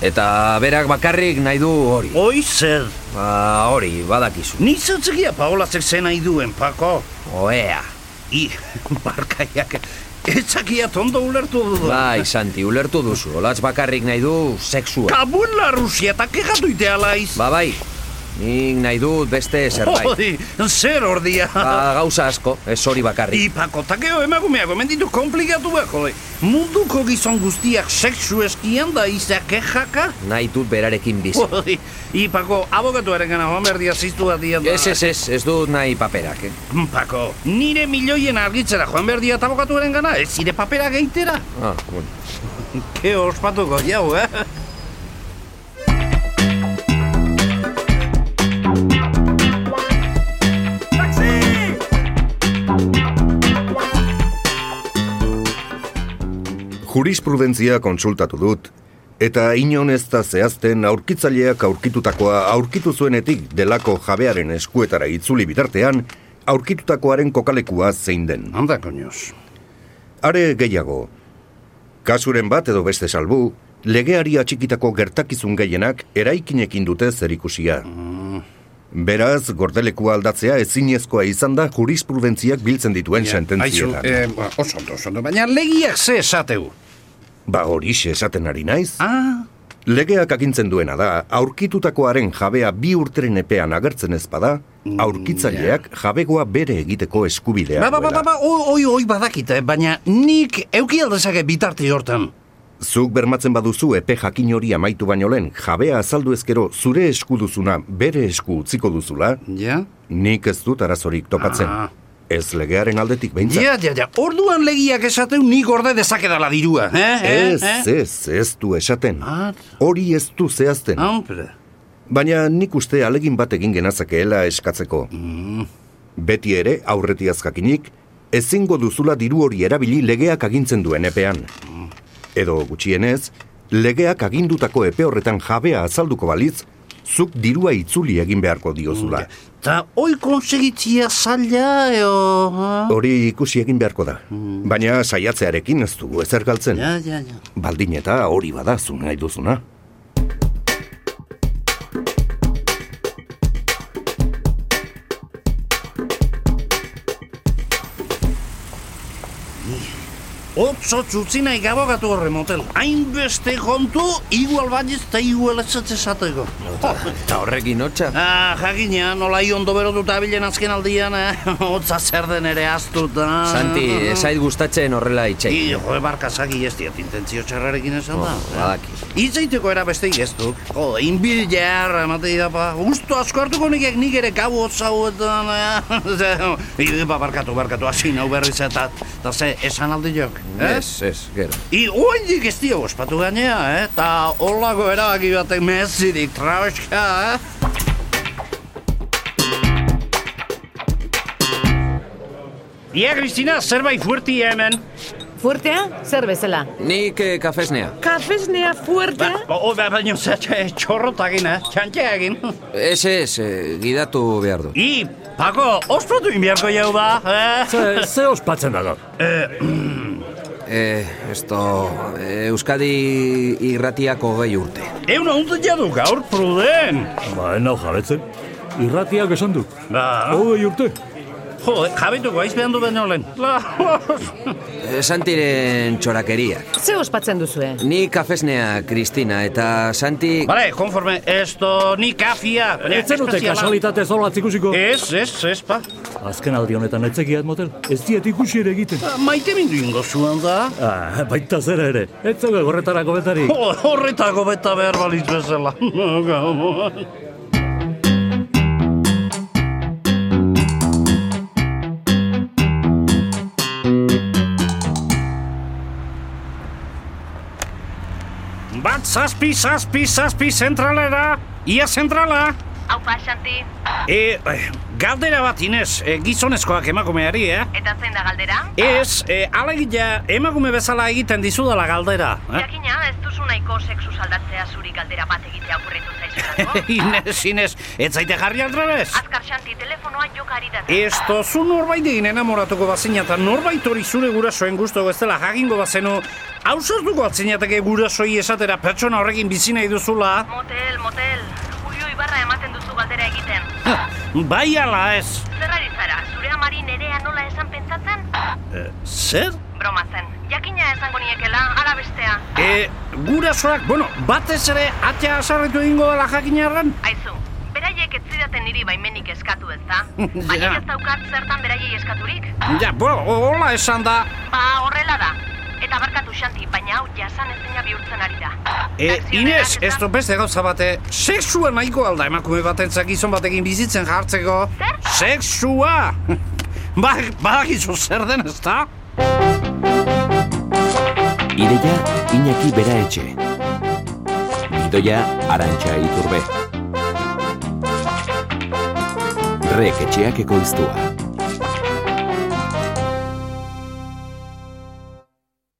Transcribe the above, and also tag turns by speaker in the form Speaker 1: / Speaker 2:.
Speaker 1: Eta berak bakarrik nahi du hori.
Speaker 2: Oi zer,
Speaker 1: Ba, hori, badakizu.
Speaker 2: ni zentzegia paolazek zen nahi duen, Pako.
Speaker 1: Oea.
Speaker 2: I, barkaiak, etzakia tondo ulertu dudu.
Speaker 1: Bai, Santi, ulertu duzu. Olatz bakarrik nahi du sexua.
Speaker 2: Kabun larrusia eta kegatu ideala iz.
Speaker 1: Ba, bai. Nik nahi dut beste zerbait.
Speaker 2: Hori, zer ordia.
Speaker 1: Ba, gauza asko, ez hori bakarrik.
Speaker 2: Ipako, takeo emakumeako, menditu komplikatu behar, le. Munduko gizon guztiak seksu eskian da izak kejaka.
Speaker 1: Nahi dut berarekin bizi.
Speaker 2: Hori, Ipako, abokatuaren gana joan berdia ziztu bat dian da.
Speaker 1: Ez, ez, ez, ez dut nahi paperak, eh?
Speaker 2: Pako, nire milioien argitzera joan berdia eta abokatuaren gana, ez zire papera geitera.
Speaker 1: Ah, bueno.
Speaker 2: Ke ospatuko jau, eh?
Speaker 3: Jurisprudentzia konsultatu dut, eta inon ez da zehazten aurkitzaileak aurkitutakoa aurkitu zuenetik delako jabearen eskuetara itzuli bitartean, aurkitutakoaren kokalekua zein den.
Speaker 2: Anda, koñoz.
Speaker 3: Are gehiago, kasuren bat edo beste salbu, legeari atxikitako gertakizun gehienak eraikinekin dute zerikusia. Beraz, gordelekua aldatzea ezinezkoa izan da jurisprudentziak biltzen dituen sententzietan.
Speaker 2: eh, ba, oso ondo, oso ondo, baina legiak ze esateu.
Speaker 3: Ba horixe esaten ari naiz.
Speaker 2: Ah,
Speaker 3: Legeak agintzen duena da, aurkitutakoaren jabea bi urteren epean agertzen ezpada, aurkitzaileak jabegoa bere egiteko eskubidea
Speaker 2: Mm, ba, ba, ba, ba,
Speaker 3: duela.
Speaker 2: ba, o- oi, oi badakita, eh, baina nik euki aldezake bitarte hortan.
Speaker 3: Zuk bermatzen baduzu epe jakin hori amaitu baino lehen, jabea azaldu ezkero zure esku duzuna bere esku utziko duzula,
Speaker 2: Ja?
Speaker 3: nik ez dut arazorik topatzen.
Speaker 2: Ah.
Speaker 3: Ez legearen aldetik behintzat.
Speaker 2: Ja, ja, ja, orduan legiak esateu nik orde dezakedala dirua, eh? eh,
Speaker 3: Ez,
Speaker 2: eh?
Speaker 3: ez, ez du esaten.
Speaker 2: Ah.
Speaker 3: Hori ez du zehazten.
Speaker 2: Hombre.
Speaker 3: Baina nik uste alegin bat egin genazakeela eskatzeko. Beti ere, aurretiaz jakinik, ezingo duzula diru hori erabili legeak agintzen duen epean. Edo gutxienez, legeak agindutako epe horretan jabea azalduko balitz, zuk dirua itzuli egin beharko diozula.
Speaker 2: Ta oi konsegitzia zaila, eo... ah?
Speaker 3: Hori ikusi egin beharko da. Baina saiatzearekin ez dugu ezer galtzen.
Speaker 2: Ja, ja, ja.
Speaker 3: Baldin eta hori bada zu nahi duzuna.
Speaker 2: Otso txutzi nahi gabogatu horre motel. Hainbeste kontu, igual bainiz eta igual ez ez esateko. Oh,
Speaker 1: Eta horrekin hotxa.
Speaker 2: Ah, jakina, nola ondo berotuta abilen azken aldian, eh? Otza zer den ere aztut, ah.
Speaker 1: Santi, ez zait gustatzen horrela itxei.
Speaker 2: I, jo, barka zagi ez diat, intentzio txarrarekin esan da.
Speaker 1: Oh, badaki.
Speaker 2: Itzaiteko era beste ez du. Jo, inbil jarra, matei da, pa. Usto asko hartuko nikek nik ere gabu otzauetan, eh? I, ba, barkatu, barkatu, hasi nau berriz eta, eta ze, esan aldi jok, eh?
Speaker 1: Ez, ez, gero.
Speaker 2: I, oindik ez dio ospatu gainea, eh? Ta holako erabaki batek mezirik trabeska, eh? Ia, Kristina, zerbait fuertia hemen.
Speaker 4: Fuertea, zer bezala.
Speaker 1: Nik eh, kafesnea.
Speaker 4: Kafesnea
Speaker 2: Ba,
Speaker 4: fuertea?
Speaker 2: ba, o, ba, baino ze, txe- txorrotak egin, eh? Txantia egin.
Speaker 1: Ez, ez, eh, gidatu behar dut.
Speaker 2: I, Pako, ospatu inbiarko jau da, eh?
Speaker 5: Ze, ze ospatzen da gaur?
Speaker 1: Eh, esto, eh, Euskadi irratiako gehi urte.
Speaker 2: Euna untu jadu gaur, pruden.
Speaker 5: Ba, enau jabetzen. Ah. Irratiak esan du.
Speaker 2: Ba,
Speaker 5: Hogei urte.
Speaker 2: jo, jabetuko aiz behan du baino lehen. La,
Speaker 1: Eh, Santiren txorakeriak.
Speaker 4: Ze ospatzen duzue?
Speaker 1: Ni kafesnea, Kristina, eta Santi...
Speaker 2: Bale, konforme, esto ni kafia.
Speaker 5: Ez zenute kasualitatez hola ikusiko.
Speaker 2: Ez, ez, ez, ba. pa.
Speaker 5: Azken aldi honetan etzekiat motel. Ez diet ikusi ere egiten.
Speaker 2: Ah, Maite mindu ingo zuen da.
Speaker 5: Ah, baita zera ere. Ez zaude horretarako betarik.
Speaker 2: Ho- Horretako beta behar balitz bezala. Bat, zazpi, zazpi, zazpi, zentralera. Ia zentrala.
Speaker 6: Hau pasanti,
Speaker 2: E, eh, galdera bat, Inez, eh, gizonezkoak emakumeari, eh?
Speaker 6: Eta zein da galdera?
Speaker 2: Ez, e, alegina emakume bezala egiten dizudala galdera. Eh?
Speaker 6: Jakina, ez duzu nahiko sexu saldatzea zuri galdera bat egitea okurritu zaizulako?
Speaker 2: Inez, Inez, ez zaite jarri aldrabez.
Speaker 6: Azkar Xanti telefonoa jokari da.
Speaker 2: Ez tozu norbait egin enamoratuko bazina eta norbait hori zure gurasoen gusto ez dela jakingo bazenu, hausartuko atzinateke gurasoi esatera pertsona horrekin bizi nahi duzula.
Speaker 6: Motel, motel, Julio Ibarra ematen duzu galdera egiten.
Speaker 2: Ha, bai ala ez.
Speaker 6: Zer ari zara, zure amari nerea nola esan pentsatzen?
Speaker 2: Zer?
Speaker 6: Broma zen, jakina esango niekela, ara bestea.
Speaker 2: E, gurasoak, bueno, batez ere atea asarretu egingo dela jakinarran.
Speaker 6: Aizu, beraiek ez zidaten niri baimenik eskatu ez da?
Speaker 2: Ja.
Speaker 6: Baina ez daukat zertan beraiei eskaturik?
Speaker 2: Ja, bueno, hola esan da,
Speaker 6: Ba, horrela da. Eta barkatu xanti, baina hau jasan ezina bihurtzen ari da.
Speaker 2: E,
Speaker 6: Taxi
Speaker 2: Inez,
Speaker 6: honek
Speaker 2: ez
Speaker 6: esan-
Speaker 2: du beste gauza bate, sexua nahiko alda emakume batentzak gizon batekin bizitzen jartzeko.
Speaker 6: Zer?
Speaker 2: Sexua! ba, badakizu zer den, ez da?
Speaker 7: Ideia Iñaki Bera Etxe. Bidoia Arantxa Iturbe. Rek etxeak ekoiztua.